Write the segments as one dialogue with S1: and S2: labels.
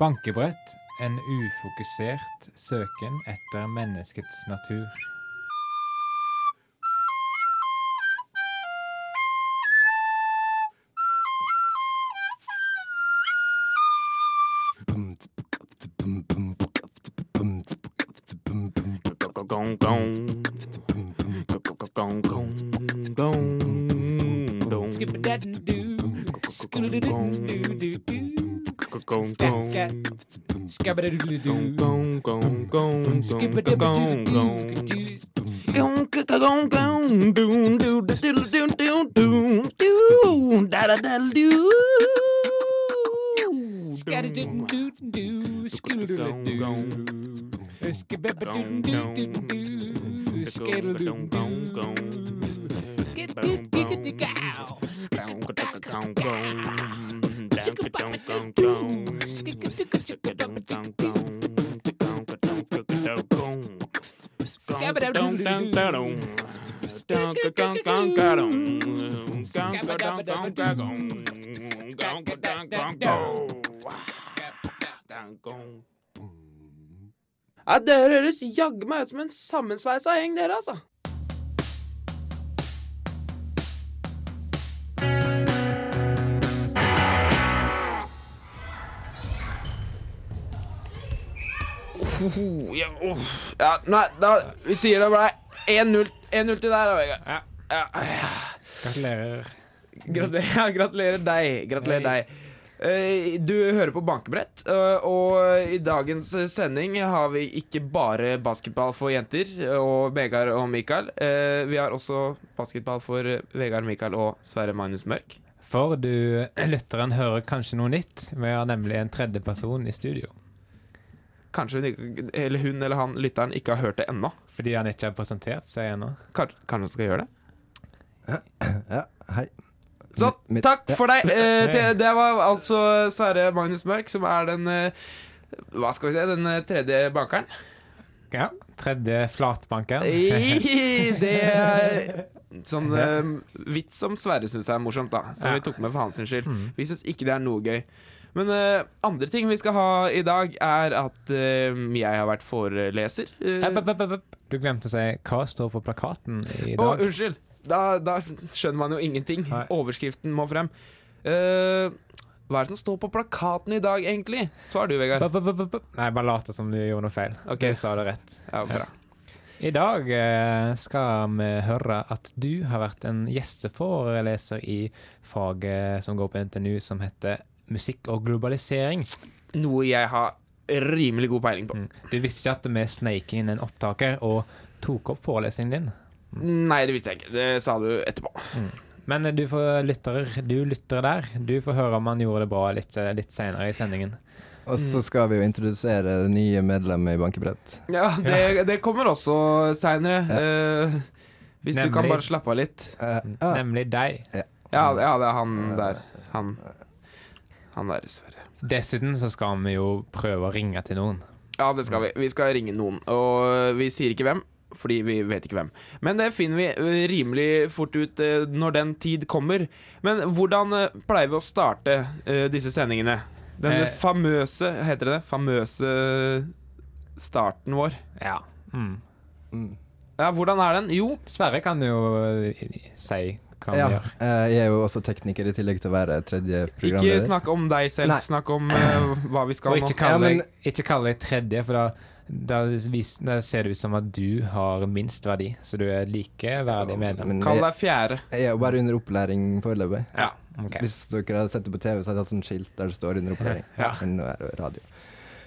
S1: Bankebrett en ufokusert søken etter menneskets natur.
S2: Gong, gong. Gong, gong. Gong, dong. Gong, gong. Gong, gong, gong, gong, gong, gong. Gong, ka- gong, gong. Doon, doo, da- diddle, doon, doon, doon, doon. Da- da- da- doo.
S3: Nei, Dere høres jaggu meg ut som en sammensveisa gjeng, dere, altså. Oho, ja, uff. ja, nei, da, vi sier det ble 1-0 1-0 til deg, da, Vegard.
S1: Ja,
S3: Ja, ja.
S1: gratulerer.
S3: Gratulerer, ja, gratulerer deg. Gratulerer deg. Eh, Du hører på Bankebrett, eh, og i dagens sending har vi ikke bare basketball for jenter og Vegard og Mikael. Eh, Vi har også basketball for Vegard, Mikael og Sverre Magnus Mørk.
S1: For du, eh, lytteren, hører kanskje noe nytt. Vi har nemlig en tredjeperson i studio.
S3: Kanskje hun, ikke- eller hun eller han, lytteren, ikke har hørt det ennå.
S1: Fordi han ikke har presentert seg ennå.
S3: Kanskje, kanskje hun skal gjøre det?
S4: Ja, hei.
S3: Sånn.
S4: Mitt-
S3: Takk for deg. Eh,
S1: Hei.
S3: det, det var altså Sverre Magnus Mørk, som er den eh, Hva skal vi si? Den eh, tredje bankeren.
S1: Ja. Tredje flatbankeren.
S3: Ei, Det er sånn eh, vits som Sverre syns er morsomt, da. Som
S1: Ja.
S3: vi tok med for hans sin skyld.
S1: Mm.
S3: Vi syns ikke det er noe gøy. Men eh, andre ting vi skal ha i dag, er at eh, jeg har vært foreleser. eh,
S1: Epp, epp, epp, epp, epp. Du glemte å si hva står på plakaten i
S3: Å,
S1: dag.
S3: unnskyld! Da, da skjønner man jo ingenting.
S1: Nei.
S3: Overskriften må frem. Eh, hva er det som står på plakaten i dag, egentlig? Svar du, Vegard.
S1: Bup, bup, bup, bup, bup. Nei, bare lat som du gjorde noe feil.
S3: Ok.
S1: Du sa det rett.
S3: Ja, bra.
S1: I dag eh, skal vi høre at du har vært en gjesteforeleser i faget som går på NTNU som heter Musikk og globalisering.
S3: Noe jeg har rimelig god peiling på.
S1: Mm. Du visste ikke at vi sneik inn en opptaker og tok opp forelesningen din.
S3: Nei, det visste jeg ikke. Det sa du etterpå.
S1: Men eh, du får lyttere, du lyttere der. Du får høre om han gjorde det bra litt, eh, litt seinere i sendingen.
S4: Og så skal vi jo introdusere det nye medlemmet i Bankebrett.
S3: Ja, det, det kommer også seinere. eh, hvis du kan
S1: Nemlig.
S3: bare slappe av litt.
S4: Eh, ah,
S1: Nemlig deg.
S3: Ja, ja, det er han der. Han, han der, dessverre.
S1: Dessuten så skal vi jo prøve å ringe til noen.
S3: Ja, det skal vi. Vi skal ringe noen. Og vi sier ikke hvem, fordi vi vet ikke hvem. Men det finner vi eh, rimelig fort ut eh, når den tid kommer. Men hvordan eh, pleier vi å starte eh, disse sendingene? Den
S1: Eh.
S3: famøse Heter det det? Famøse starten vår.
S1: Ja. Mm.
S4: mm.
S3: Ja, hvordan er den? Jo,
S1: Sverre kan jo eh, si hva vi
S4: Ja,
S1: gjør.
S4: eh, jeg er jo også tekniker i tillegg til å være tredje
S3: ikke
S4: programleder.
S3: snakk om deg selv.
S4: Nei.
S3: Snakk om eh, hva vi skal
S1: Og
S3: nå.
S1: ikke kalle,
S4: Ja,
S1: deg, ikke kalle deg tredje, for da, da, vis, da ser det ut som at du har minst verdi. Så du er likeverdig medlem.
S4: Men
S3: Kall
S4: jeg,
S3: deg fjerde.
S4: jeg er jo bare under opplæring foreløpig.
S3: Ja.
S1: Ok.
S4: Hvis dere hadde sett det på TV, så hadde jeg hatt sånn skilt der det står 'under opplæring'.
S1: Ja.
S4: Men nå er det radio.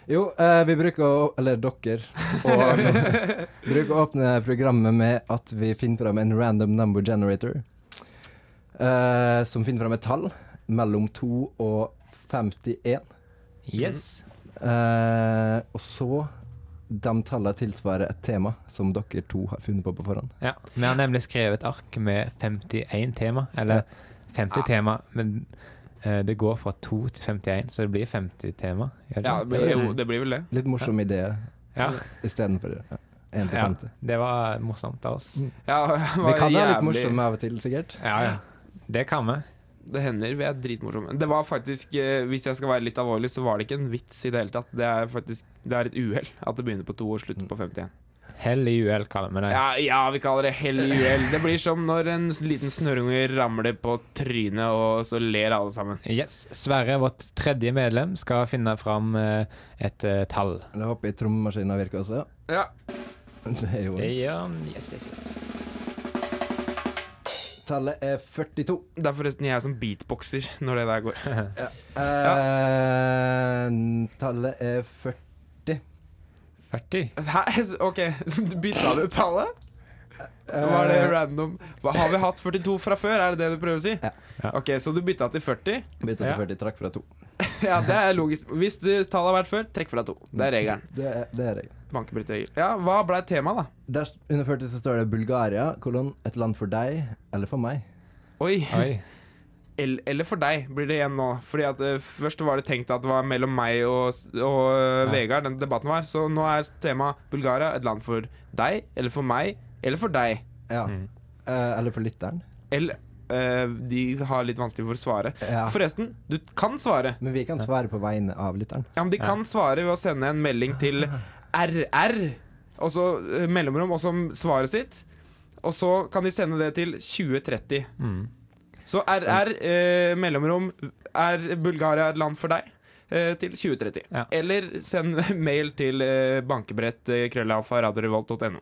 S4: Jo, eh, vi bruker å Eller dere. Og, bruker å åpne programmet med at vi finner fram en random number generator. eh, som finner fram et tall mellom 2 og 51.
S1: Yes.
S4: Eh, og så de tallene tilsvarer et tema som dere to har funnet på på forhånd.
S1: Ja. Vi har nemlig skrevet et ark med 51 tema, eller 50 tema, men eh, det går fra 2 til 51, så det blir 50 tema. gjør
S3: Ja,
S1: ikke?
S3: det blir,
S1: mm.
S3: jo, det blir vel det.
S4: Litt morsom idé
S1: ja.
S4: istedenfor ja, 1 til
S1: ja.
S4: 50.
S1: Det var morsomt av oss.
S3: Ja, det
S4: Vi
S3: var
S4: kan være litt
S3: jævlig-
S4: morsomme av og til, sikkert.
S1: Ja, ja. Det kan vi.
S3: Det hender. Vi er dritmorsomme. Det var faktisk, eh, hvis jeg skal være litt alvorlig, så var det ikke en vits i det hele tatt. Det er faktisk Det er et uhell at det begynner på to og slutter på 51.
S1: Hell i uhell, kaller vi det.
S3: Ja, ja, vi kaller det hell i uhell. Det blir som når en s- liten snørrunge ramler på trynet, og så ler alle sammen.
S1: Yes. Sverre, vårt tredje medlem, skal finne fram eh, et eh, tall.
S4: Da håper jeg trommemaskinen virker også.
S3: Ja.
S4: Det er jo
S1: Det gjør han. Yes, yes, yes.
S4: Tallet er 42.
S3: Det er forresten jeg som beatboxer når det der går.
S4: Eh, Tallet er 40.
S1: 40.
S3: Hæ? OK, bytta du tallet? Var det random? Hva, har vi hatt 42 fra før? Er det det du prøver å si?
S4: Eh, Ja.
S1: Ja.
S3: OK, så du bytta til 40?
S4: Bytta Eh, til
S1: Ja.
S4: 40, trakk fra 2.
S3: Ja, det er logisk. Hvis det tallet har vært før, trekk fra to. Det er regelen.
S4: Det er, det er jeg.
S3: Bankebrittregel. Ja, hva ble temaet, da?
S4: Der, s- under 40 så står det Bulgaria, kolon, et land for deg, eller for meg.
S3: Oi.
S1: Oi.
S3: El- Eller for deg, blir det igjen nå. Fordi at eh, Først var det tenkt at det var mellom meg og, og
S1: Ja.
S3: eh, Vegard den debatten var. Så nå er temaet Bulgaria et land for deg, eller for meg, eller for deg.
S4: Ja.
S1: Mm.
S4: Eh, eller for lytteren.
S3: Eller eh, De har litt vanskelig for å svare.
S4: Ja.
S3: Forresten, du kan svare.
S4: Men vi kan svare på vegne av lytteren.
S3: Ja, men de kan svare ved å sende en melding til RR, og så eh, mellomrom, og så svaret sitt. Og så kan de sende det til 2030.
S1: Mm.
S3: Så RR, eh, mellomrom, er Bulgaria et land for deg? Eh, til 2030.
S1: Ja.
S3: Eller send mail til eh, bankebrett eh, krøllalfa radiorevolt.no.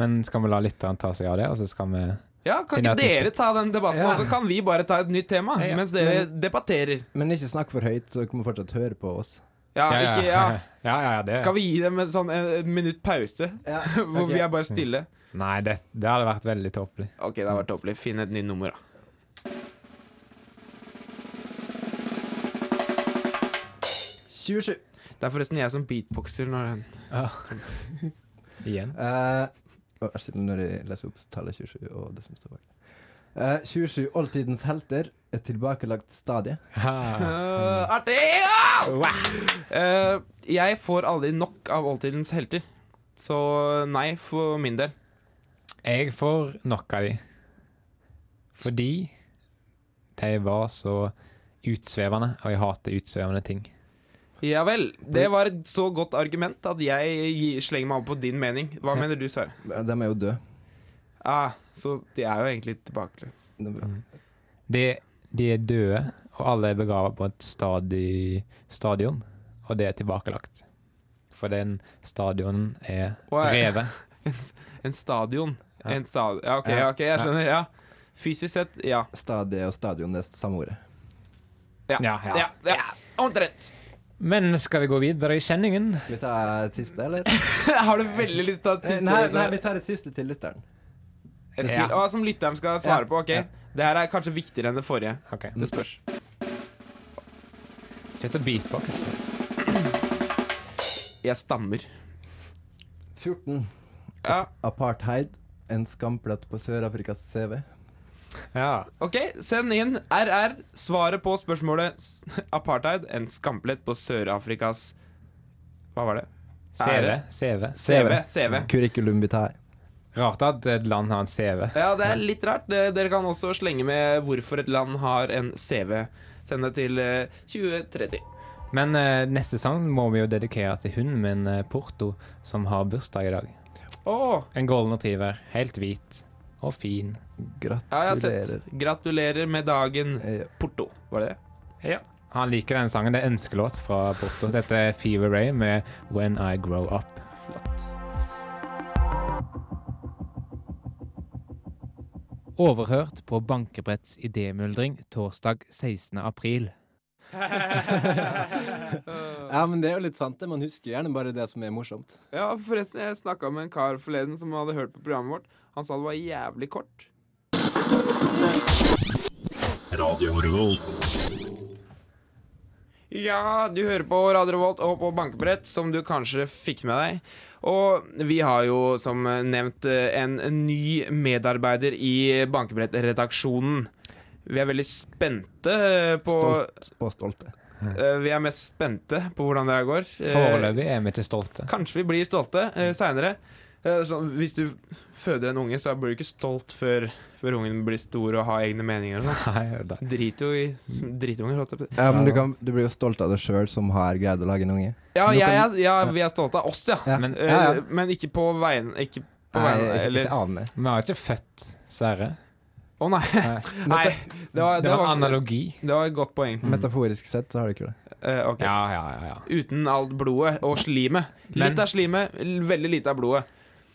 S1: Men skal vi la lytteren ta seg av det, og så skal vi
S3: Ja, kan ikke
S1: Finner jeg et
S3: dere ta den debatten,
S4: Ja.
S3: og så kan vi bare ta et nytt tema?
S1: Ja, ja.
S3: Mens dere debatterer.
S4: Men ikke snakk for høyt, så dere må fortsatt høre på oss.
S3: Ja, ikke, ja.
S1: ja, ja, ja, det.
S3: Skal vi gi dem en sånn eh, minutt pause,
S4: Ja,
S3: hvor
S4: ok.
S3: vi er bare stille?
S1: Nei, det, det hadde vært veldig tåpelig.
S3: Ok, det har vært tåpelig. Finn et nytt nummer, da. Det er forresten jeg som beatboxer når den
S1: Igjen.
S4: Eh, og jeg stiller når jeg leser opp tallet 27 og det som står bak. Eh, 27 oldtidens helter er tilbakelagt stadie.
S1: Ha.
S3: Øh, Artig! Ja! Øh, jeg får aldri nok av oldtidens helter. Så nei, for min del.
S1: Jeg får nok av de. Fordi de var så utsvevende, og jeg hater utsvevende ting.
S3: Ja vel. Det var et så godt argument at jeg gi- slenger meg over på din mening. Hva mener du, Sverre?
S4: Eh, De er jo døde.
S3: Ah, så de er jo egentlig tilbakelent.
S4: De-
S1: De, de er døde, og alle er begravet på et stadi, stadion, og det er tilbakelagt. For den stadionen er
S3: Oi.
S1: revet.
S3: En stadion.
S1: Ja.
S3: En stad ja, ok,
S1: Ja.
S3: ja, ok, jeg skjønner. Ja. Fysisk sett, ja.
S4: Stadie og stadion det er samme ordet.
S1: Ja, ja.
S3: Ja, ja. Omtrent.
S1: Men skal vi gå videre i kjenningen?
S4: Skal vi ta et siste, eller?
S3: Har du veldig lyst til å ta et
S4: Eh,
S3: siste?
S4: Nei,
S3: Sverre?
S4: nei, vi tar et siste til lytteren.
S3: Et
S1: Ja.
S3: til- Å, som lytteren skal svare
S4: Ja.
S3: på. ok
S4: Ja.
S3: Det her er kanskje viktigere enn det forrige.
S1: Ok.
S3: Det spørs.
S1: Kjøtt og beatbox.
S3: Jeg stammer.
S4: 14.
S3: Ja,
S4: Apartheid. En skamplett på Sør-Afrikas CV.
S1: Ja.
S3: ok, Send inn RR svaret på spørsmålet s- apartheid. En skamplett på Sør-Afrikas Hva var det?
S1: CV. CV.
S3: CV. CV.
S4: Curriculum vitae.
S1: Rart at et land har en CV.
S3: Ja, det er litt rart. Det- Dere kan også slenge med hvorfor et land har en CV. Send det til eh, 2030.
S1: Men eh, neste sang må vi jo dedikere til hunden min, eh, Porto, som har bursdag i dag.
S3: Å,
S1: En golden retriever, helt hvit og fin.
S3: ja, jeg har
S4: Gratulerer.
S3: sett. Gratulerer med dagen,
S4: Eh,
S3: Porto. Var det det?
S1: Han liker den sangen. Det er ønskelåt fra Porto. Dette er Fever Ray med 'When I Grow Up'. Overhørt på Bankebretts idémyldring torsdag 16. april.
S4: Ja, men det er jo litt sant, det. Man husker gjerne bare det som er morsomt.
S3: Ja, forresten, jeg snakka med en kar forleden som hadde hørt på programmet vårt. Han sa det var jævlig kort.
S5: Radio Revolt.
S3: Ja, du hører på Radio Revolt og på bankebrett, som du kanskje fikk med deg. Og vi har jo, som nevnt, en ny medarbeider i bankebrettredaksjonen. Vi er veldig spente på
S4: Stolt og stolte.
S3: eh, Vi er mest spente på hvordan det her går. Eh,
S1: Foreløpig er vi ikke stolte.
S3: Kanskje vi blir stolte eh, seinere. eh, sånn, hvis du føder en unge, så blir du ikke stolt før, før ungen blir stor og har egne meninger. Og sånn.
S1: Nei, det
S3: Drit jo i som dritunger. holdt jeg på å si.
S4: Ja, men du, kan, du blir jo stolt av deg sjøl som har greid å lage en unge.
S3: Ja,
S4: Så du
S3: jeg,
S4: kan-
S3: er- ja, vi er stolte av oss, ja.
S4: Ja.
S3: Men,
S4: Ja, ja.
S3: eh, men ikke på veien Ikke på
S4: Nei,
S3: veien
S4: ikke,
S3: Eller
S4: ikke av meg.
S1: Vi har jo ikke født Sverre.
S3: Å, nei.
S1: Nei.
S3: nei. Det var,
S1: Det var en
S3: det var,
S1: analogi.
S3: det var et godt poeng.
S4: Metaforisk sett så har du ikke det.
S3: Eh, ok.
S1: Ja, ja, ja, ja.
S3: Uten alt blodet og slimet.
S1: Men-
S3: Litt av slimet, l- veldig lite av blodet.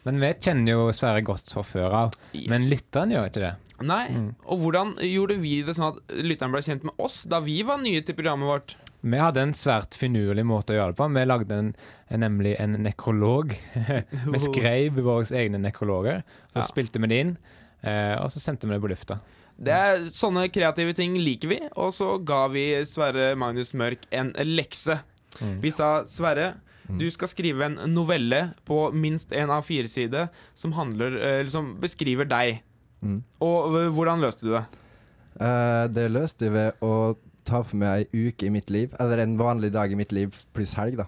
S1: Men vi kjenner jo Sverre godt fra før av.
S3: Yes.
S1: Men lytteren gjør ikke det.
S3: Nei, og hvordan gjorde vi det sånn at lytteren ble kjent med oss da vi var nye til programmet vårt?
S1: Vi hadde en svært finurlig måte å gjøre det på. Vi lagde en, nemlig en nekrolog. vi skrev våre egne nekrologer, så
S3: Ja.
S1: spilte vi det inn, eh, og så sendte vi det på lufta.
S3: Det er Sånne kreative ting liker vi, og så ga vi Sverre Magnus Mørk en lekse.
S4: Mm.
S3: Vi sa Sverre, du skal skrive en novelle på minst en av fire sider som, handler, eh, eller som beskriver deg.
S4: Mm.
S3: Og eh, hvordan løste du det?
S4: Eh, det løste jeg ved å ta for meg ei uke i mitt liv, eller en vanlig dag i mitt liv, pluss helg, da.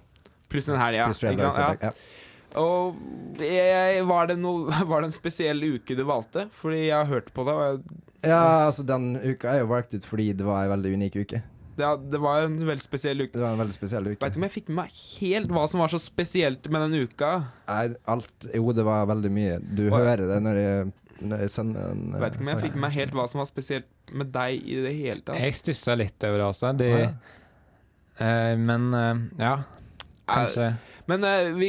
S3: Pluss en helg, ja.
S4: Pluss fredag
S3: Ikke
S4: og
S3: sant?
S4: søndag.
S3: ja.
S4: Ja.
S3: Og jeg, var, det no, var det en spesiell uke du valgte? Fordi jeg har hørt på det. Og jeg,
S4: ja, altså den uka er jo valgt ut fordi det var ei veldig unik uke.
S3: det, det var en veldig spesiell uke.
S4: Det var en veldig spesiell uke.
S3: Veit ikke om jeg fikk med meg helt hva som var så spesielt med den uka.
S4: Nei, alt Jo, det var veldig mye. Du
S3: Hva-
S4: hører det når jeg, når jeg sender en eh,
S3: Veit ikke om jeg
S4: sak.
S3: fikk med meg helt hva som var spesielt med deg i det hele tatt.
S1: Jeg stussa litt over det også. Det,
S4: Ja.
S1: eh, men eh, ja, kanskje
S3: Men eh, vi,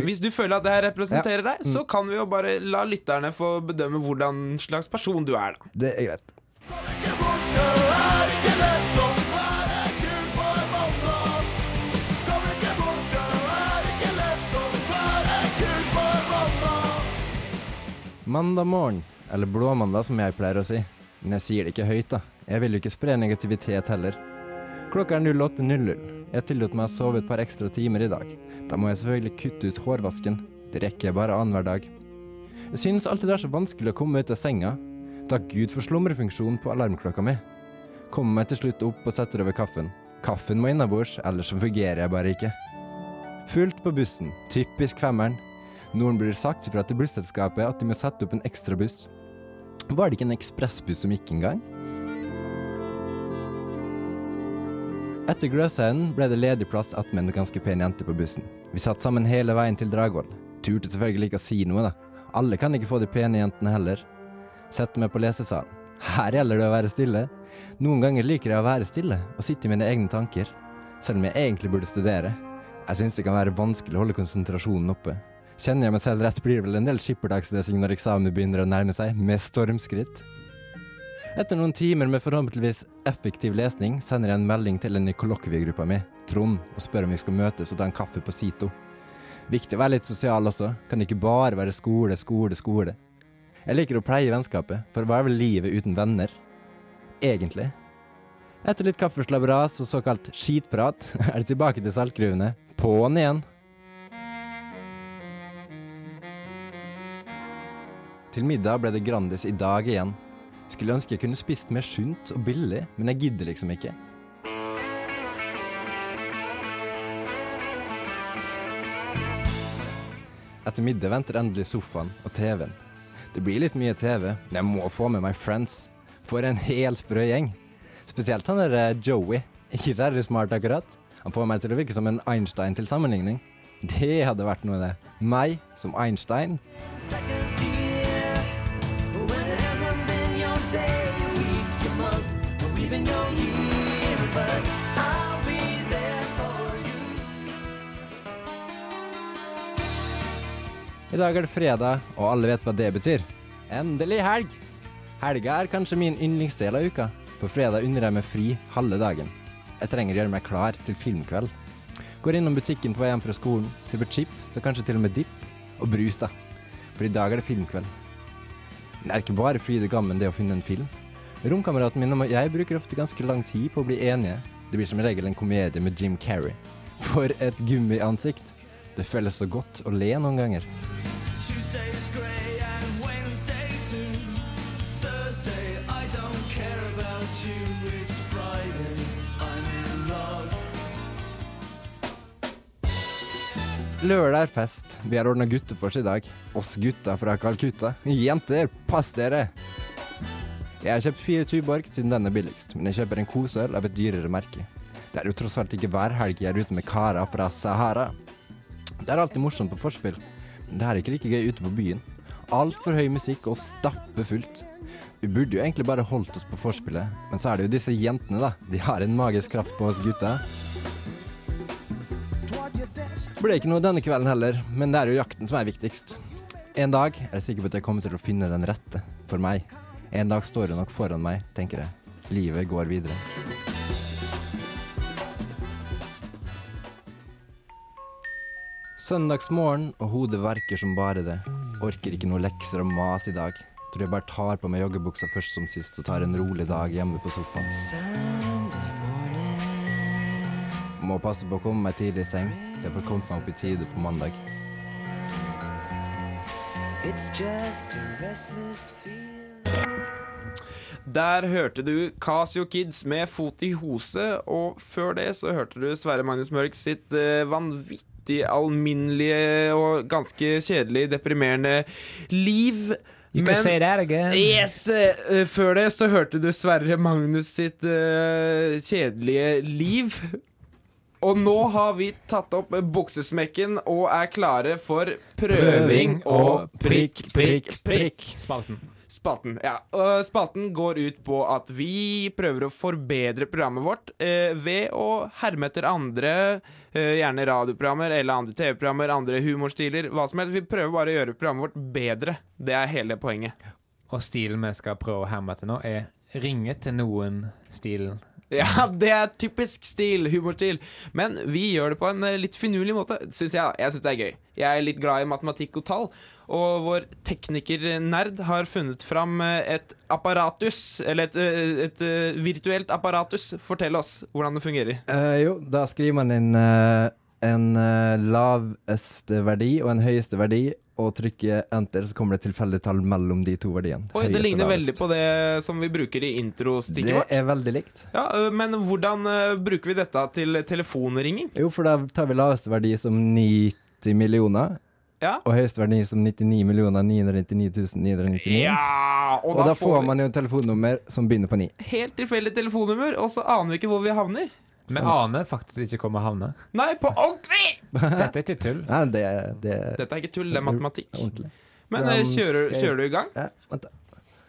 S3: hvis du føler at det her representerer deg, så kan vi jo bare la lytterne få bedømme hvordan slags person du er, da.
S4: Det er greit. Mandag morgen, eller blåmandag som jeg pleier å si. Men jeg sier det ikke høyt, da. Jeg vil jo ikke spre negativitet heller. Klokka er 08.00. Jeg tillot meg å sove et par ekstra timer i dag. Da må jeg selvfølgelig kutte ut hårvasken. Det rekker jeg bare annenhver dag. Jeg synes alltid det er så vanskelig å komme ut av senga. Takk Gud for slumrefunksjonen på alarmklokka mi. Kommer meg til slutt opp og setter over kaffen. Kaffen må innabords, ellers så fungerer jeg bare ikke. Fullt på bussen. Typisk femmeren. Noen blir sagt fra til busselskapet at de må sette opp en ekstra buss. Var det ikke en ekspressbuss som gikk engang? Etter Gløshaugen ble det ledig plass attmed en ganske pen jente på bussen. Vi satt sammen hele veien til Dragvoll. Turte selvfølgelig ikke å si noe, da. Alle kan ikke få de pene jentene heller. Sett meg på lesesalen. Her gjelder det å være stille. Noen ganger liker jeg å være stille og sitte i mine egne tanker. Selv om jeg egentlig burde studere. Jeg syns det kan være vanskelig å holde konsentrasjonen oppe. Kjenner jeg meg selv rett, blir det vel en del skippertakslesing når eksamen begynner å nærme seg, med stormskritt. Etter noen timer med forhåpentligvis effektiv lesning sender jeg en melding til en i kollokviegruppa mi, Trond, og spør om vi skal møtes og ta en kaffe på Sito. Viktig å være litt sosial også, kan ikke bare være skole, skole, skole. Jeg liker å pleie vennskapet, for hva er vel livet uten venner? Egentlig. Etter litt kaffeslabberas og såkalt skitprat er det tilbake til saltgruvene, på'n igjen. Til middag ble det Grandis i dag igjen. Skulle ønske jeg kunne spist mer sunt og billig, men jeg gidder liksom ikke. Etter middag venter endelig sofaen og TV-en. Det blir litt mye TV, men jeg må få med meg Friends. For en hel sprø gjeng. Spesielt han der eh, Joey. Ikke særlig smart akkurat. Han får meg til å virke som en Einstein til sammenligning. Det hadde vært noe, det. Meg som Einstein
S6: Second year, when it hasn't been your day, your week, your month, or even your year, but I'll be there for you.
S4: I dag er det fredag, og alle vet hva det betyr. Endelig helg! Helga er kanskje min yndlingsdel av uka. På fredag unner jeg meg fri halve dagen. Jeg trenger å gjøre meg klar til filmkveld. Går innom butikken på vei hjem fra skolen, kjøper chips og kanskje til og med dipp. Og brus, da. For i dag er det filmkveld. Men det er ikke bare fryd og gammen det å finne en film. Romkameraten min og jeg bruker ofte ganske lang tid på å bli enige. Det blir som regel en komedie med Jim Carrey. For et gummiansikt! Det føles så godt å le noen ganger.
S6: Tuesday's grey and Wednesday too. Thursday, I don't care about you. It's Friday, I'm in love.
S4: Lørdagsfest. Vi har ordna guttefors i dag. Oss gutta fra Calcutta. Jenter, pass dere! Jeg har kjøpt fire Tuborg siden den er billigst, men jeg kjøper en koseøl av et dyrere merke. Det er jo tross alt ikke hver helg jeg er ute med karer fra Sahara. Det er alltid morsomt på forspill, men det er ikke like gøy ute på byen. Altfor høy musikk og stappe fullt. Vi burde jo egentlig bare holdt oss på forspillet, men så er det jo disse jentene, da. De har en magisk kraft på oss gutta. Ble ikke noe denne kvelden heller, men det er jo jakten som er viktigst. En dag er jeg sikker på at jeg kommer til å finne den rette for meg. En dag står hun nok foran meg, tenker jeg. Livet går videre. Søndagsmorgen og hodet verker som bare det. Orker ikke noe lekser og mas i dag. Tror jeg bare tar på meg joggebuksa først som sist og tar en rolig dag hjemme på sofaen. Må passe på å komme meg tidlig i seng, så jeg får kommet meg opp i tide på mandag.
S3: Der hørte du Casio Kids med Fot i hose, og før det så hørte du Sverre Magnus Mørk sitt eh, vanvittig alminnelige og ganske kjedelig deprimerende liv.
S1: You can say that again.
S3: Yes! eh, Før det så hørte du Sverre Magnus sitt eh, kjedelige liv. Og nå har vi tatt opp buksesmekken og er klare for prøving og prikk, prikk, prikk.
S1: Spalten.
S3: Spaten. ja. Og spaten går ut på at vi prøver å forbedre programmet vårt eh, ved å herme etter andre, eh, gjerne radioprogrammer eller andre TV-programmer, andre humorstiler, hva som helst. Vi prøver bare å gjøre programmet vårt bedre. Det er hele poenget.
S1: Og stilen vi skal prøve å herme etter nå, er ringe til noen-stilen.
S3: Ja, det er typisk stil, humorstil. Men vi gjør det på en eh, litt finurlig måte, syns jeg. Jeg syns det er gøy. Jeg er litt glad i matematikk og tall. Og vår teknikernerd har funnet fram eh, et apparatus, eller et, eh, et eh, virtuelt apparatus. Fortell oss hvordan det fungerer.
S4: Eh, jo, da skriver man inn eh, en eh, laveste verdi og en høyeste verdi, og trykker enter, så kommer det et tilfeldig tall mellom de to verdiene.
S3: Oi,
S4: Høyest
S3: det
S4: og
S3: ligner
S4: lavest.
S3: veldig på det som vi bruker i introstikket
S4: Det
S3: vårt.
S4: er veldig likt.
S3: Ja, eh, Men hvordan eh, bruker vi dette til telefonringing?
S4: Jo, for da tar vi laveste verdi som 90 millioner,
S3: Ja.
S4: og høyeste verdi som 99 millioner 999 999.
S3: Ja,
S4: Mm. Og da får man jo et telefonnummer som begynner på 9.
S3: helt tilfeldig telefonnummer, og så aner vi ikke hvor vi havner.
S1: Vi aner faktisk ikke hvor vi havner.
S3: Nei, på ordentlig!
S1: Dette er ikke tull.
S4: Nei, det, det er
S3: Dette er ikke tull, det er matematikk.
S4: ordentlig.
S3: Men eh,
S4: Um,
S3: kjører,
S4: skal jeg-
S3: kjører du i gang?
S4: Ja, vent, da.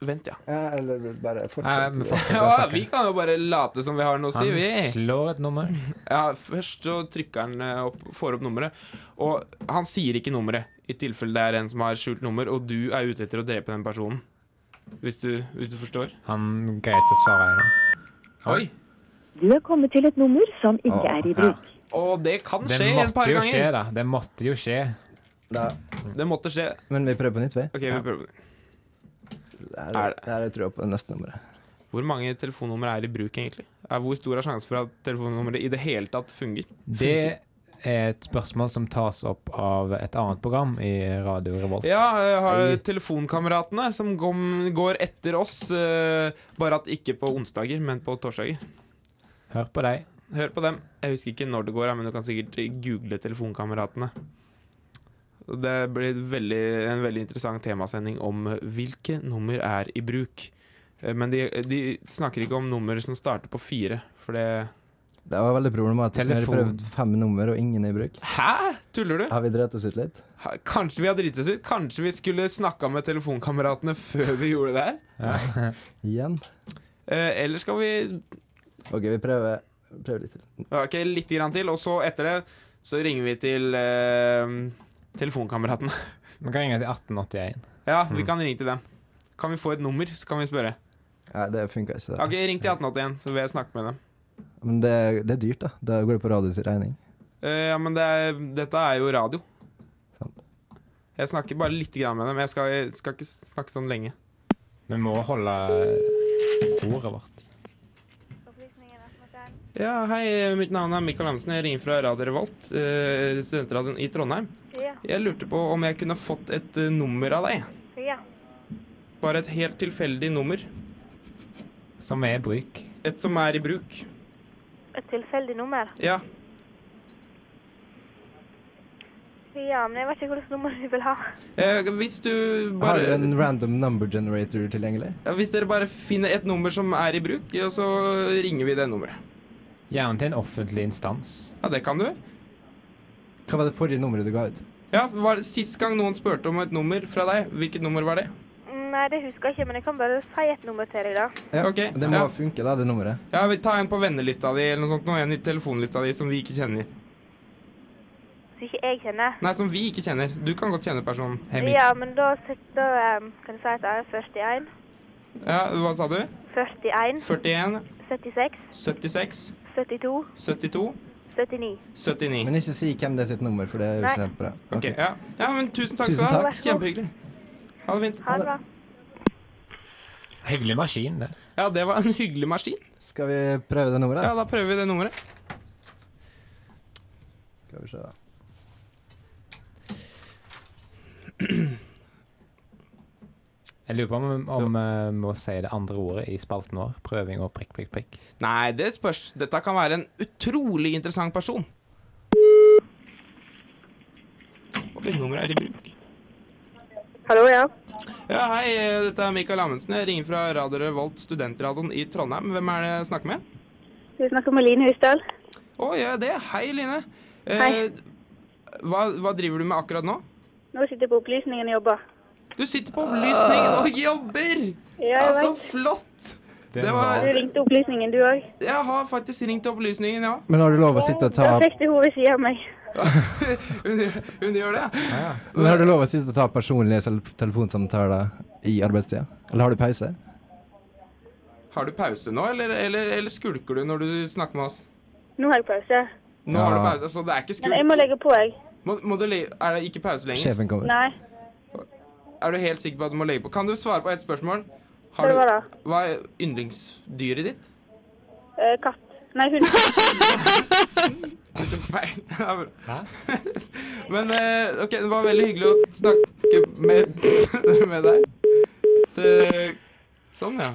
S3: Vent, ja.
S4: Ja, eller bare
S1: Nei,
S4: fortsett.
S1: vi fortsetter å
S3: ja. Vi
S1: snakke.
S3: kan jo bare late som vi har noe å si,
S1: Han
S3: vi.
S1: slår et nummer.
S3: Ja, først så trykker han eh, opp, får opp nummeret, og han sier ikke nummeret. I tilfelle det er en som har skjult nummer, og du er ute etter å drepe den personen. Hvis du, hvis du forstår.
S1: Han greier ikke å svare ennå.
S3: Oi!
S7: Du er kommet til et nummer som ikke er i bruk.
S3: Og det kan
S1: Det
S3: skje et
S1: måtte
S3: par
S1: jo
S3: ganger.
S1: skje, da. Det måtte jo skje.
S4: Da.
S3: Det måtte skje.
S4: Men vi prøver på nytt, vi.
S3: Ok, vi prøver.
S4: Det
S3: Er
S4: er,
S3: det-
S4: det er jeg tror på det neste nummeret.
S3: Hvor mange telefonnummer er i bruk, egentlig? Er hvor stor er sjansen for at telefonnummeret i det hele tatt fungerer?
S1: Det er et spørsmål som tas opp av et annet program i Radio Revolt.
S3: Ja, jeg har telefonkameratene som gom- går etter oss. eh, Bare at ikke på onsdager, men på torsdager.
S1: Hør på deg.
S3: Hør på dem. Jeg husker ikke når det går, ja, men du kan sikkert eh, google Telefonkameratene. Og Det blir et veldig, en veldig interessant temasending om hvilke nummer er i bruk. Eh, Men de, de snakker ikke om nummer som starter på fire, for det
S4: Det var veldig problematisk. Vi har
S1: Telefon.
S4: prøvd fem nummer, og ingen er i bruk.
S3: Hæ? Tuller du?
S4: Har vi drept oss ut litt?
S3: Ha- Kanskje vi har driti oss ut? Kanskje vi skulle snakka med telefonkameratene før vi gjorde det her?
S4: Igjen?
S3: Eh, eller skal vi
S4: OK, vi prøver, prøver litt til.
S3: Ok, litt grann til, og så etter det så ringer vi til eh, telefonkameratene.
S1: Vi kan ringe til 1881.
S3: Ja, vi kan ringe til dem. Kan vi få et nummer, så kan vi spørre.
S4: Nei, det funka ikke.
S3: Ok,
S4: Det.
S3: Ring til 1881, så vil jeg snakke med dem.
S4: Men det, det er dyrt, da. Da går det på radios regning.
S3: Eh, ja, men det er, dette er jo radio.
S4: Sant.
S3: Jeg snakker bare litt grann med dem. Jeg skal, jeg skal ikke snakke sånn lenge.
S1: Vi må holde ordet vårt.
S3: Ja, Hei, eh, mitt navn er Mikael Amundsen. Jeg ringer fra Radio Revolt, eh, studentradioen i Trondheim. Jeg lurte på om jeg kunne fått et eh, nummer av deg. Bare et helt tilfeldig nummer.
S1: Som er i bruk.
S3: Et som er i bruk.
S8: Et tilfeldig nummer.
S3: Ja.
S7: Ja, men jeg vet ikke hvilket nummer du vil ha.
S3: Eh, hvis du
S4: Har du
S3: bare
S4: en random number generator tilgjengelig?
S3: Ja, Hvis dere bare finner et nummer som er i bruk, ja, så ringer vi det nummeret.
S1: Gjerne til en offentlig instans.
S3: Ja, det kan du.
S4: Hva var det forrige nummeret du ga ut?
S3: Ja, var det Sist gang noen spurte om et nummer fra deg, hvilket nummer var det?
S7: Nei, det husker jeg ikke, men jeg kan bare si et nummer til deg, da.
S4: Ja,
S3: Ok,
S4: Det må
S3: ja.
S4: funke, da, det nummeret.
S3: Ja, vi tar en på vennelista di eller noe sånt, og en i telefonlista di som vi ikke kjenner.
S7: Som ikke jeg kjenner.
S3: Nei, som vi ikke kjenner. Du kan godt kjenne personen.
S1: Hemmelig.
S7: Ja, men da, set- da eh, kan jeg si at det er 41,
S3: Ja, Hva sa du?
S7: 41,
S3: 41,
S7: 76,
S3: 76,
S7: 72,
S3: 72,
S7: 79.
S3: 79.
S4: Men ikke si hvem det er sitt nummer, for det er jo
S7: Nei.
S4: ikke helt bra.
S3: Ok,
S4: Ok.
S3: ja. ja, men tusen takk
S4: Tusen
S3: skal du ha.
S4: takk.
S3: Kjempehyggelig. Ha det fint.
S7: Ha det bra.
S1: Hyggelig maskin, det.
S3: Ja, det var en hyggelig maskin.
S4: Skal vi prøve det nummeret?
S3: Ja, da prøver vi det nummeret.
S4: Skal vi se, da.
S1: Jeg lurer på om om eh, vi må si det andre ordet i spalten vår. Prøving og prikk, prikk, prikk.
S3: Nei, det spørs. Dette kan være en utrolig interessant person. Oi, nummeret er i bruk.
S7: Hallo, ja.
S3: Ja, Hei, eh, dette er Mikael Amundsen. Jeg ringer fra Radio Revolt, studentradioen i Trondheim. Hvem er det jeg snakker med?
S7: Vi snakker med Line Husdal.
S3: Å, gjør jeg det? Hei, Line. Eh,
S7: Hei.
S3: Hva, hva driver du med akkurat nå?
S7: Nå sitter jeg på opplysningen og jobber.
S3: Du sitter på opplysning og jobber!
S7: Ah. Ja,
S3: Ja,
S7: jeg
S3: så
S7: vet.
S3: flott!
S1: Det
S3: Det
S7: Du
S3: var
S7: ringte opplysningen, du òg.
S3: Jeg har faktisk ringt til opplysningen, ja.
S4: Men har du lov å sitte og ta
S7: Da fikk du henne ved siden av meg.
S3: Hun, gjør- hun gjør det, ja.
S4: Men har du lov å sitte og ta personlige sel- telefonsamtaler i arbeidstida? Eller har du pause?
S3: Har du pause nå, eller, eller, eller skulker du når du snakker med oss?
S7: Nå har jeg pause.
S3: Nå har du pause, så det er ikke
S7: Men
S3: skult.
S7: jeg må legge på, jeg.
S3: Må, må du le er det ikke pause lenger?
S4: Sjefen kommer.
S7: Nei.
S3: Er du helt sikker på at du må legge på? Kan du svare på ett spørsmål?
S7: Hva
S3: Har du,
S7: var det?
S3: hva er yndlingsdyret ditt?
S7: Eh, katt. Nei, hund.
S3: Du tok feil. Ja, bra.
S1: Hæ?
S3: Men eh, OK, det var veldig hyggelig å snakke med, med deg. Det, sånn, ja.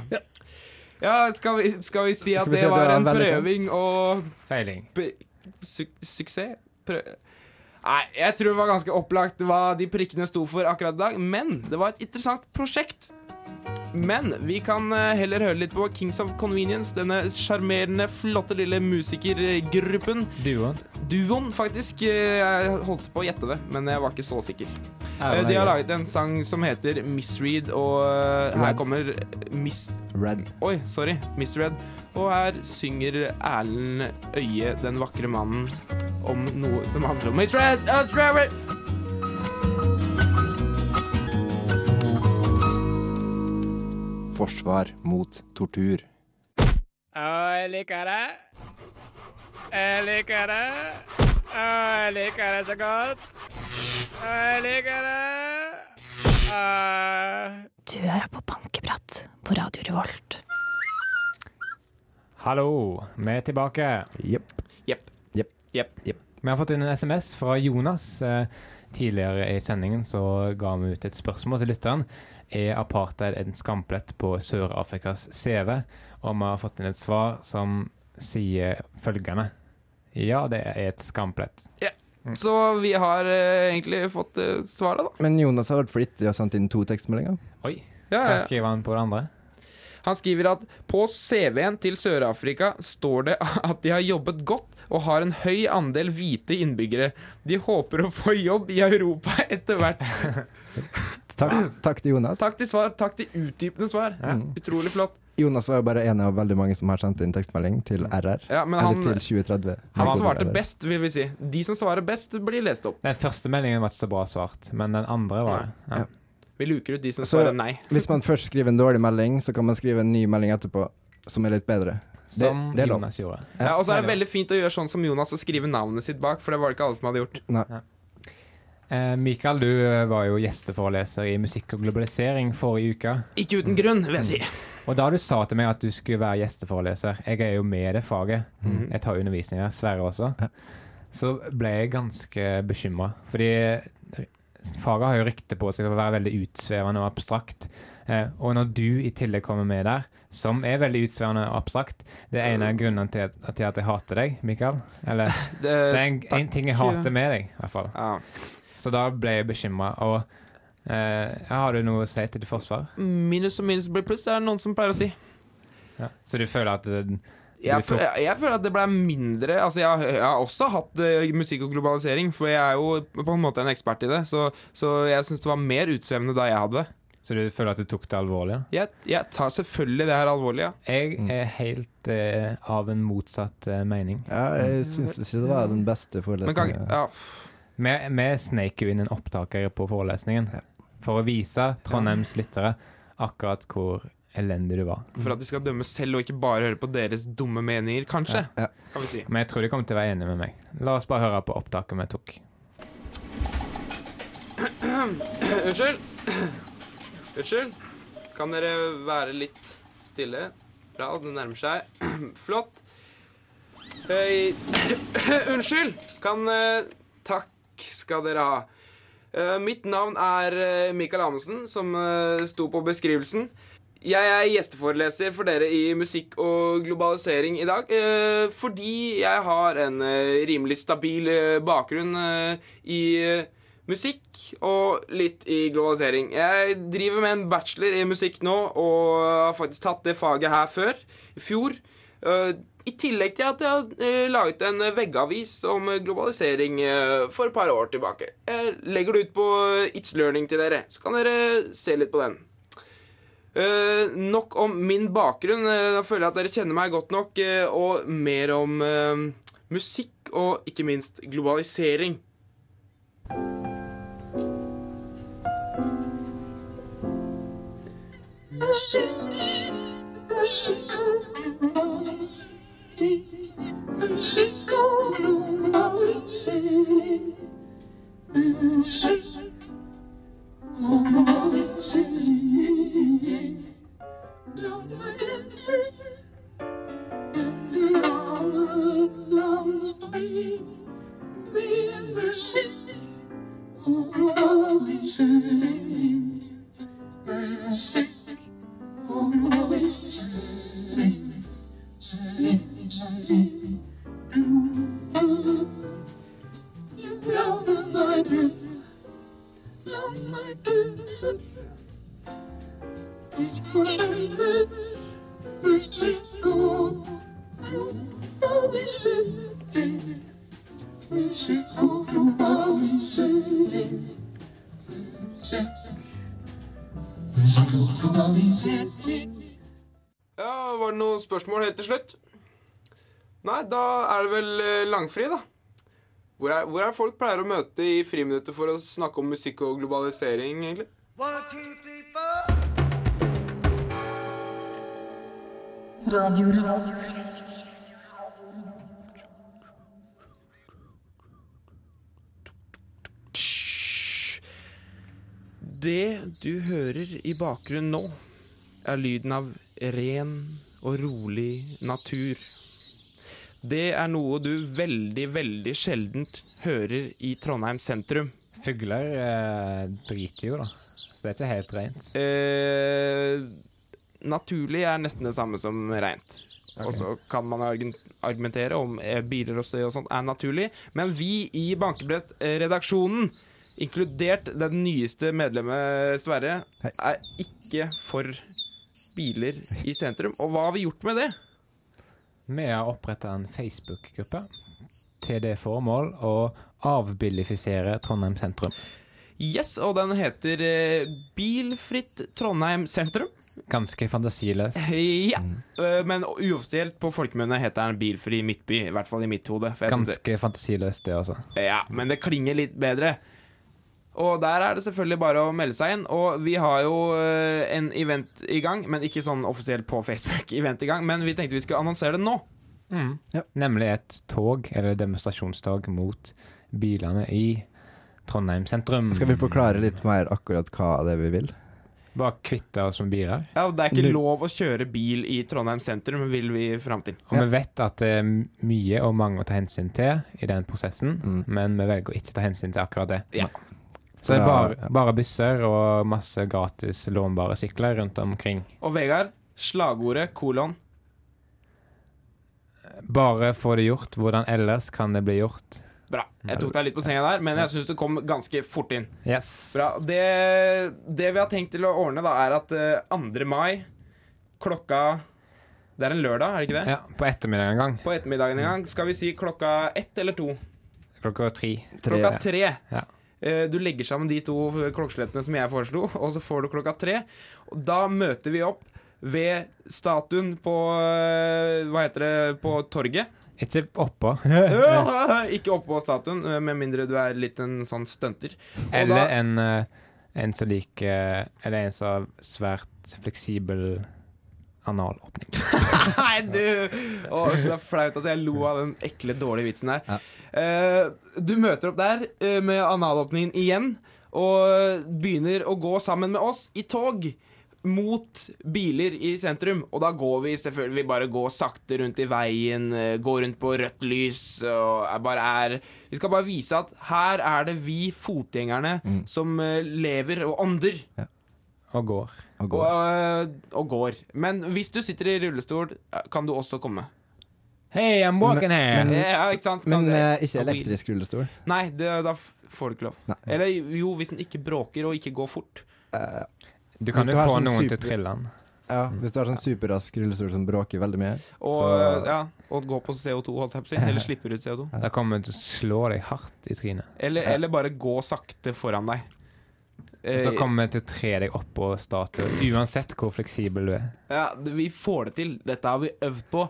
S3: Ja, skal vi, skal vi
S4: Skal vi si
S3: si at det
S4: at det
S3: var
S4: var
S3: en
S4: vellykket?
S3: prøving og
S1: Feiling.
S3: be- su suksess? Prø Nei, jeg tror det var ganske opplagt hva de prikkene sto for akkurat i dag, men det var et interessant prosjekt. Men vi kan eh, heller høre litt på Kings of Convenience, denne sjarmerende, flotte lille musikergruppen.
S1: Duoen.
S3: Eh, Duoen, faktisk. eh, Jeg holdt på å gjette det, men jeg var ikke så sikker. Eh, De har laget en sang som heter Misread, og eh, her
S4: Red.
S3: kommer Miss...
S4: Red.
S3: Oi, sorry. Misread. Og her synger Erlend Øye, den vakre mannen, om noe som handler om Misread! uh, Misread.
S4: Forsvar mot tortur.
S1: Å, jeg liker det. Jeg liker det. Å, jeg liker det så godt. Å, jeg liker det.
S8: Du hører på Bankeprat på Radio Revolt.
S1: Hallo, vi er tilbake.
S4: Jepp.
S3: Jepp.
S4: Jepp.
S3: Jepp.
S1: Vi har fått inn en SMS fra Jonas. Eh, Tidligere i sendingen så ga vi ut et spørsmål til lytteren. Er apartheid en skamplett på Sør-Afrikas CV? Og vi har fått inn et svar som sier følgende. Ja, det er et skamplett.
S3: Så vi har eh, egentlig fått eh, svaret, da.
S4: Men Jonas har vært flittig og sendt inn to tekstmeldinger.
S1: Oi,
S3: Ja,
S1: hva
S3: ja.
S1: skriver han på det andre?
S3: Han skriver at på CV-en til Sør-Afrika står det at de har jobbet godt og har en høy andel hvite innbyggere. De håper å få jobb i Europa etter hvert.
S4: Takk, takk til Jonas.
S3: Takk til svar. Takk til utdypende svar. Utrolig flott.
S4: Jonas var jo bare en av veldig mange som har sendt inn tekstmelding til RR.
S3: Mm. Ja, men
S4: Eller
S3: han,
S4: til 2030.
S3: han svarte best, vil vi si. De som svarer best, blir lest opp.
S1: Den første meldingen var ikke så bra svart, men den andre var det. Ja.
S3: Vi luker ut de som
S4: Så-
S3: svarer nei.
S4: Hvis man først skriver en dårlig melding, så kan man skrive en ny melding etterpå som er litt bedre. Det,
S1: Som
S4: det er lov.
S1: Jonas gjorde.
S3: Ja, og så er det
S1: Veldig
S3: veldig fint å gjøre sånn som Jonas og skrive navnet sitt bak, for det var det ikke alle som hadde gjort.
S1: Eh, Mikael, du eh, var jo gjesteforeleser i Musikk og globalisering forrige uke.
S3: Ikke uten grunn, vil jeg si.
S1: Og da du sa til meg at du skulle være gjesteforeleser Jeg er jo med i det faget. Jeg tar undervisning her, Sverre også. Så ble jeg ganske bekymra. Fordi faget har jo rykte på seg for å være veldig utsvevende og abstrakt. Eh, og når du i tillegg kommer med der, som er veldig utsvevende og abstrakt Det er en av grunnene til at, til at jeg hater deg, Mikael. Eller
S3: Det,
S1: det er en, en ting jeg hater med deg, i hvert fall.
S3: ja.
S1: Så da ble jeg bekymra. Og eh, har du noe å si til ditt forsvar?
S3: Minus og minus blir pluss, det er noen som pleier å si.
S1: Ja. Så du føler at eh,
S3: Jeg,
S1: Du tok-
S3: føl- jeg føler at det ble mindre Altså, jeg, har- jeg har også hatt eh, musikk og globalisering, for jeg er jo på en måte en ekspert i det, så, så jeg syns det var mer utsvevende da jeg hadde det.
S1: Så du føler at du tok det alvorlig? ja? Mm.
S3: Jeg, jeg tar selvfølgelig det her alvorlig, ja.
S1: Jeg er helt eh, av en motsatt eh, mening.
S4: Ja, jeg syns ikke det var den beste
S3: Men kan,
S4: forelesningen.
S3: ja.
S1: Vi, vi sneik jo inn en opptaker på forelesningen for å vise Trondheims lyttere akkurat hvor elendig du var.
S3: For at de skal dømme selv, og ikke bare høre på deres dumme meninger, kanskje. Kan vi si.
S1: Men jeg tror de kommer til å være enige med meg. La oss bare høre på opptaket vi tok.
S3: Unnskyld. Unnskyld. Kan dere være litt stille? Bra, det nærmer seg. Flott. Hei. Unnskyld. Kan eh, Takk skal dere ha. Eh, mitt navn er eh, Mikael Amundsen, som eh, sto på beskrivelsen. Jeg er gjesteforeleser for dere i musikk og globalisering i dag. eh, fordi jeg har en eh, rimelig stabil eh, bakgrunn eh, i eh, musikk og litt i globalisering. Jeg driver med en bachelor i musikk nå og har faktisk tatt det faget her før. I fjor. Eh, I tillegg til at jeg har eh, laget en eh, veggavis om eh, globalisering eh, for et par år tilbake. Jeg legger det ut på eh, It's Learning til dere, så kan dere se litt på den. Eh, nok om min bakgrunn. Eh, da føler jeg at dere kjenner meg godt nok. eh, og mer om eh, musikk og ikke minst globalisering. Ja, Var det noen spørsmål helt til slutt? Nei, da er det vel eh, langfri, da. Hvor er, hvor er folk pleier å møte i friminuttet for å snakke om musikk og globalisering, egentlig?
S9: Radio Revolt.
S3: Det du hører i bakgrunnen nå, er lyden av ren og rolig natur. Det er noe du veldig, veldig sjeldent hører i Trondheim sentrum.
S1: Fugler eh, driter jo, da. Så det er ikke helt rent.
S3: Eh, naturlig er nesten det samme som rent. Og så kan man argun- argumentere om eh, biler og støy og sånt er naturlig, men vi i Bankebrettredaksjonen, inkludert den nyeste medlemmet Sverre, er ikke for biler i sentrum. Og hva har vi gjort med det?
S1: Vi har oppretta en Facebook-gruppe til det formål å avbilifisere Trondheim sentrum.
S3: Yes, og den heter eh, Bilfritt Trondheim sentrum.
S1: Ganske fantasiløst.
S3: Ja, eh, men uoffisielt på folkemunne heter den Bilfri Midtby, i hvert fall i mitt hode. for jeg synes det-
S1: Ganske fantasiløst, det altså. også.
S3: Ja, men det klinger litt bedre. Og der er det selvfølgelig bare å melde seg inn. Og vi har jo eh, en event i gang, men ikke sånn offisielt på Facebook. event i gang, Men vi tenkte vi skulle annonsere det nå.
S1: Nemlig et tog, eller demonstrasjonstog, mot bilene i Trondheim sentrum.
S4: Skal vi forklare litt mer akkurat hva det er vi vil?
S1: Bare kvitte oss med biler.
S3: Ja, Det er ikke lov å kjøre bil i Trondheim sentrum, vil vi fram til.
S1: Og vi vet at det er mye og mange å ta hensyn til i den prosessen, men vi velger å ikke ta hensyn til akkurat det.
S3: Ja.
S1: Så det er
S4: Mm. Ja,
S1: bare, bare busser og masse gratis lånbare sykler rundt omkring.
S3: Og Vegard, slagordet kolon.
S1: Bare få det gjort. Hvordan ellers kan det bli gjort?
S3: Bra. Jeg tok deg litt på senga der, men jeg syns du kom ganske fort inn.
S1: Yes.
S3: Bra. Det, det vi har tenkt til å ordne, da, er at eh, 2. mai klokka Det er en lørdag, er det ikke det?
S1: Ja, på ettermiddagen en gang.
S3: På ettermiddagen en gang. Skal vi si klokka ett eller to?
S1: Klokka tre.
S3: Klokka tre.
S1: Ja.
S3: Eh, Du legger sammen de to klokkeslettene som jeg foreslo, og så får du klokka tre. Og Da møter vi opp ved statuen på eh, Hva heter det? På torget.
S1: Ikke oppå.
S3: Ikke oppå statuen, eh, med mindre du er litt en sånn stunter. Og
S1: Eller
S3: da-
S1: en, eh, en som liker eh, Eller en som har svært fleksibel analåpning.
S3: Nei, du! Å, det er flaut at jeg lo av den ekle, dårlige vitsen der. Eh, du møter opp der eh, med analåpningen igjen, og begynner å gå sammen med oss i tog. Mot biler i sentrum, og da går vi selvfølgelig bare går sakte rundt i veien, eh, går rundt på rødt lys og er bare er Vi skal bare vise at her er det vi fotgjengerne som eh, lever og ånder.
S1: Og går.
S4: Og
S3: Og,
S4: gå.
S3: øh, og går. Men hvis du sitter i rullestol, eh, kan du også komme.
S1: Hey, I'm walking here!
S4: Men-
S3: Ja, ikke sant? Kan
S4: Men
S3: det-
S4: eh, ikke
S3: kan vi-
S4: elektrisk rullestol.
S3: Nei, det, da f- får du ikke lov.
S4: Nei.
S3: Eller jo, hvis den ikke bråker og ikke går fort.
S1: du kan
S4: Hvis
S1: jo
S4: du har
S1: få
S4: sånn
S1: noen til
S4: super-
S1: å trille den.
S4: Ja, Hvis du har sånn superrask rullestol som bråker veldig mye.
S3: Og,
S4: Så-
S3: ja, og gå på CO2, holdt jeg på å si. Eller slipper ut CO2.
S1: Da kommer hun til å slå deg hardt i trynet.
S3: Eller, eller bare gå sakte foran deg.
S1: Og så
S3: Eh,
S1: kommer hun til å tre deg oppå statuen, uansett hvor fleksibel du er.
S3: Ja, det- vi får det til. Dette har vi øvd på.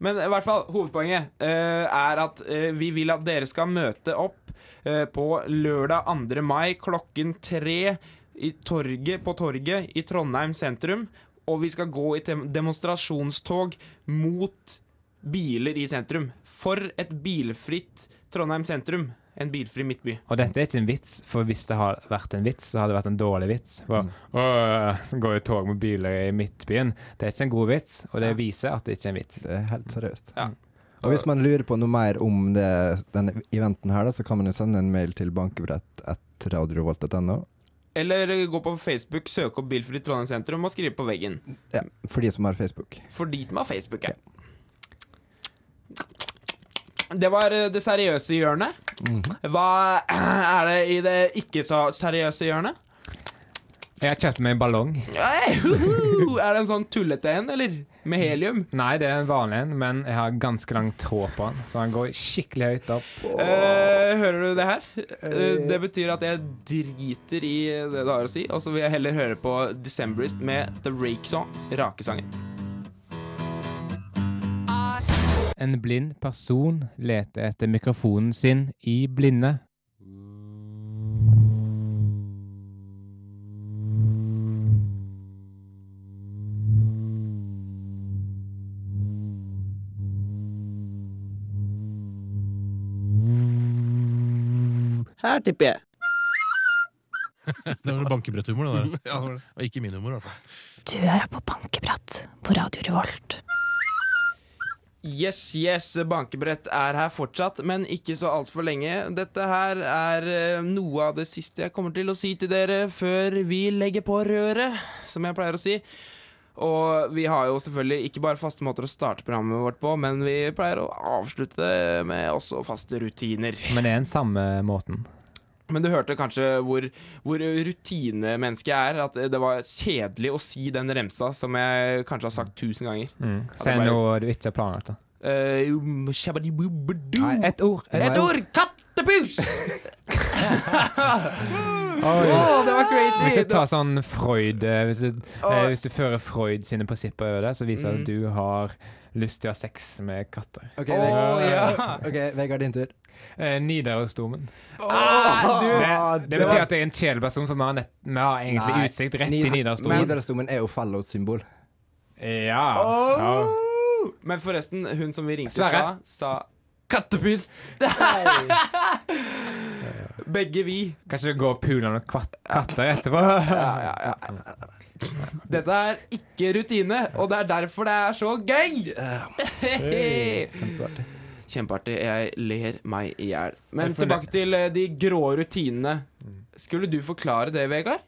S3: Men i hvert fall, hovedpoenget eh, er at eh, vi vil at dere skal møte opp eh, på lørdag 2. mai klokken tre i torget, på torget i Trondheim sentrum. Og vi skal gå i tem- demonstrasjonstog mot biler i sentrum. For et bilfritt Trondheim sentrum. En bilfri midtby.
S1: Og dette er ikke en vits, for hvis det har vært en vits, så hadde det vært en dårlig vits.
S4: Mm.
S1: For, Åh, går jo tog med biler i midtbyen. Det er ikke en god vits, og det viser at det ikke er en vits.
S4: Det er helt seriøst.
S3: Ja.
S4: Og hvis man lurer på noe mer om det, denne eventen her, da, så kan man jo sende en mail til bankebrett.radiorevolt.no.
S3: Eller gå på Facebook, søke opp Bilfritt Trondheim sentrum og skrive på veggen.
S4: Ja, for de som har Facebook.
S3: For de som har Facebook, ja. Det var eh, det seriøse hjørnet. Mhm. Hva er det i det ikke så seriøse hjørnet?
S1: Jeg har kjøpt meg en ballong.
S3: Hey, huhu! er det en sånn tullete en, eller? Med helium?
S1: Nei, det er en vanlig en, men jeg har ganske lang tråd på den, så den går skikkelig høyt opp.
S3: Eh, hører du det her? Eh, det betyr at jeg driter i det du har å si, og så vil jeg heller høre på Decemberist med The Rake Song, rakesangen.
S1: En blind person leter etter mikrofonen sin i blinde.
S2: Her tipper jeg.
S5: Det var noe bankebretthumor, det der. Og ikke min humor, i hvert fall.
S8: Du hører på Bankeprat på Radio Revolt.
S3: Yes, yes, bankebrett er her fortsatt, men ikke så altfor lenge. Dette her er eh, noe av det siste jeg kommer til å si til dere før vi legger på røret, som jeg pleier å si. Og vi har jo selvfølgelig ikke bare faste måter å starte programmet vårt på, men vi pleier å avslutte det med også faste rutiner.
S1: Men det er den samme måten.
S3: Men du hørte kanskje hvor, hvor rutinemenneske jeg er, at det var kjedelig å si den remsa som jeg kanskje har sagt tusen ganger.
S1: Mm. Se
S3: bare-
S1: noe du ikke har planlagt. da.
S3: Eh, shabadibubudu.
S1: Et ord.
S3: Et
S4: Nei.
S3: ord! Kattepus! Å, det var crazy!
S1: Hvis du
S3: Det-
S1: tar sånn Freud eh, Hvis du, eh,
S3: Åh.
S1: hvis du fører Freud sine prinsipper over det, så viser det
S3: Mm.
S1: at du har lyst til å ha sex med katter.
S4: OK,
S3: Å, ja.
S4: Ok, Vegard, din tur.
S1: Eh, Nidarosdomen.
S3: Ah,
S1: Det,
S3: du-
S1: det betyr at det er en kjedelig person, for vi har, nett, vi har egentlig
S4: Nei.
S1: utsikt rett i Nidarosdomen.
S4: Nidarosdomen er jo Fallows symbol.
S1: Ja. ja.
S3: Åh. Men forresten, hun som vi ringte i
S1: Sverre.
S3: stad, sa Kattepus! Begge vi.
S1: Kanskje du går og puler noen kvatt, katter etterpå?
S3: Dette er ikke rutine, og det er derfor det er så gøy!
S4: Kjempeartig.
S3: Kjempeartig. Jeg ler meg i hjel. Men
S1: Jeg føler- Mm.
S3: tilbake til eh, de grå rutinene. Skulle du forklare det, Vegard?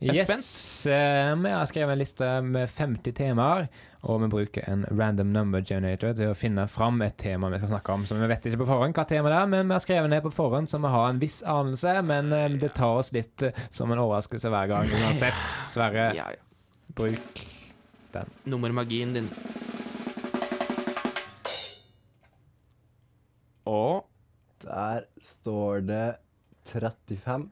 S3: Jeg er
S1: Yes, eh, vi har skrevet en liste med 50 temaer, og vi bruker en random number generator til å finne fram et tema vi skal snakke om. Så vi vet ikke på forhånd hva temaet er, men vi har skrevet ned på forhånd, så vi har en viss anelse. Men eh, det tar oss litt eh, som en overraskelse hver gang uansett. Sverre,
S3: Ja, ja.
S1: bruk
S3: Nummermagien din. Og
S4: Der står det 35.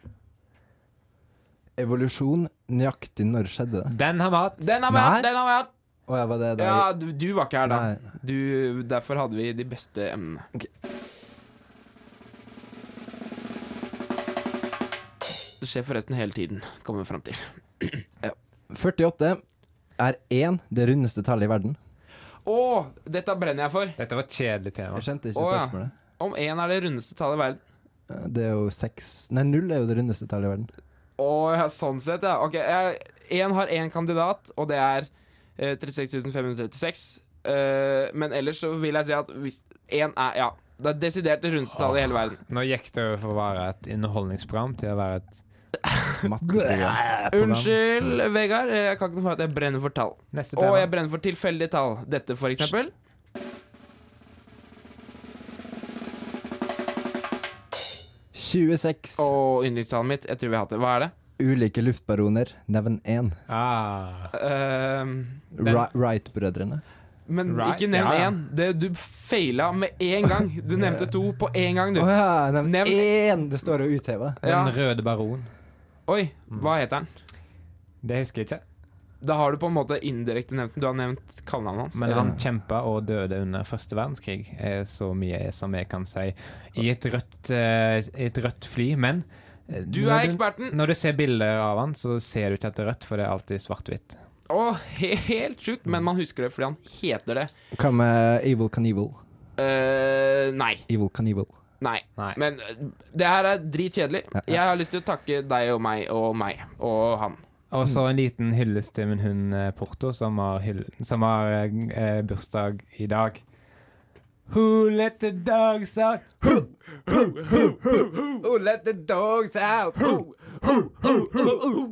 S4: Evolusjon. Nøyaktig når skjedde det?
S1: Den har vi hatt!
S3: Den har vi
S4: Nei.
S3: hatt! Den har vi hatt!
S4: Å ja, var det der?
S3: Ja, du, du var ikke her da.
S4: Nei.
S3: Du, derfor hadde vi de beste emnene.
S4: Ok.
S3: Det skjer forresten hele tiden, kommer vi fram til.
S4: 48 er 1 det rundeste tallet i verden.
S3: Å, dette brenner jeg for!
S1: Dette var et kjedelig tema.
S4: Jeg skjønte ikke
S3: Å, ja.
S4: spørsmålet.
S3: Om én er det rundeste tallet i verden.
S4: Det er jo 6 Nei, 0 er jo det rundeste tallet i verden.
S3: Å, ja, sånn sett, ja. Ok, én har én kandidat, og det er eh, 36.536. Eh, men ellers så vil jeg si at hvis én er Ja. Det er desidert det rundeste tallet i hele verden.
S1: Nå gikk det over for å være et underholdningsprogram til å være et
S4: Matteprogram.
S3: Unnskyld, Vegard. eh, Jeg kan ikke noe for at jeg brenner for tall.
S1: neste
S3: Og
S1: tema.
S3: jeg brenner for tilfeldige tall. Dette, for eksempel. Og yndlingstallet mitt. Jeg tror vi har hatt det. Hva er det?
S4: 26 ulike luftbaroner. Nevn én.
S1: Ah.
S3: Ehm,
S1: Den-
S4: Ri- Wright-brødrene.
S3: men
S1: Right,
S3: ikke nevn
S1: ja, ja.
S3: én. Det- Du feila med én gang. Du nevnte to på én gang,
S4: Å
S3: du.
S4: ja, nevn
S3: Nevn-
S4: én! Det står jo utheva.
S3: Ja.
S1: Den røde baron.
S3: Oi, hva heter han?
S1: Det husker jeg ikke,
S3: Da har du på en måte indirekte nevnt den. Du har nevnt kallenavnet hans.
S1: men han kjempa og døde under første verdenskrig, er så mye som jeg kan si. I et rødt, eh, i et rødt fly, men eh,
S3: Du
S1: når
S3: er eksperten!
S1: Når du ser bilder av han, så ser du ikke at det er rødt, for det er alltid svart-hvitt.
S3: Å, he helt sjukt, men man husker det fordi han heter det.
S4: Hva med Evil Knievel?
S3: Eh, nei.
S4: Evil Knievel.
S3: Nei.
S1: Nei.
S3: Men eh, det her er dritkjedelig. Jeg har lyst til å takke deg og meg og meg og han.
S1: Og så en liten hyllest til min hund eh, Porto, som har, hyll som har eh, eh, bursdag i dag. Who let the dogs out?
S4: Who let the dogs out?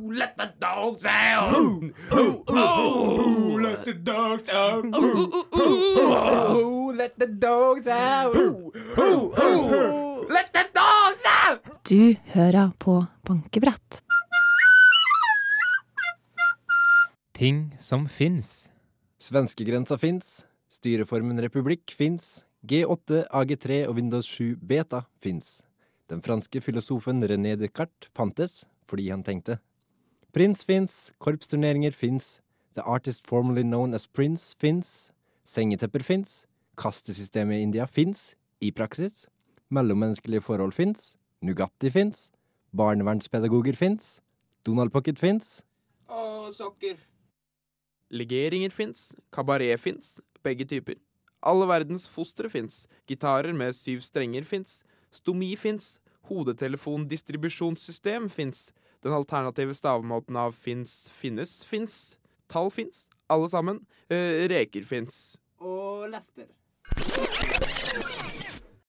S3: let the dogs out! Oh, let the dogs out!
S4: Who let the dogs out?
S3: Let the dogs out!
S8: Du hører på bankebrett.
S1: Ting som fins.
S4: Svenskegrensa fins. Styreformen republikk fins. G8, AG3 og Windows 7 Beta fins. Den franske filosofen René Descartes fantes fordi han tenkte. Prins fins. Korpsturneringer fins. The artist formerly known as Prince fins. Sengetepper fins. Kastesystemet i India fins. I praksis. Mellommenneskelige forhold fins. Nugatti fins. Barnevernspedagoger fins. Donald Pocket fins.
S3: Og sokker. Legeringer fins, kabaret fins, begge typer. Alle verdens fostre fins, gitarer med syv strenger fins, stomi fins, hodetelefondistribusjonssystem fins, den alternative stavemåten av fins, finnes, fins, tall fins, alle sammen, eh, reker fins.
S4: Og Lester.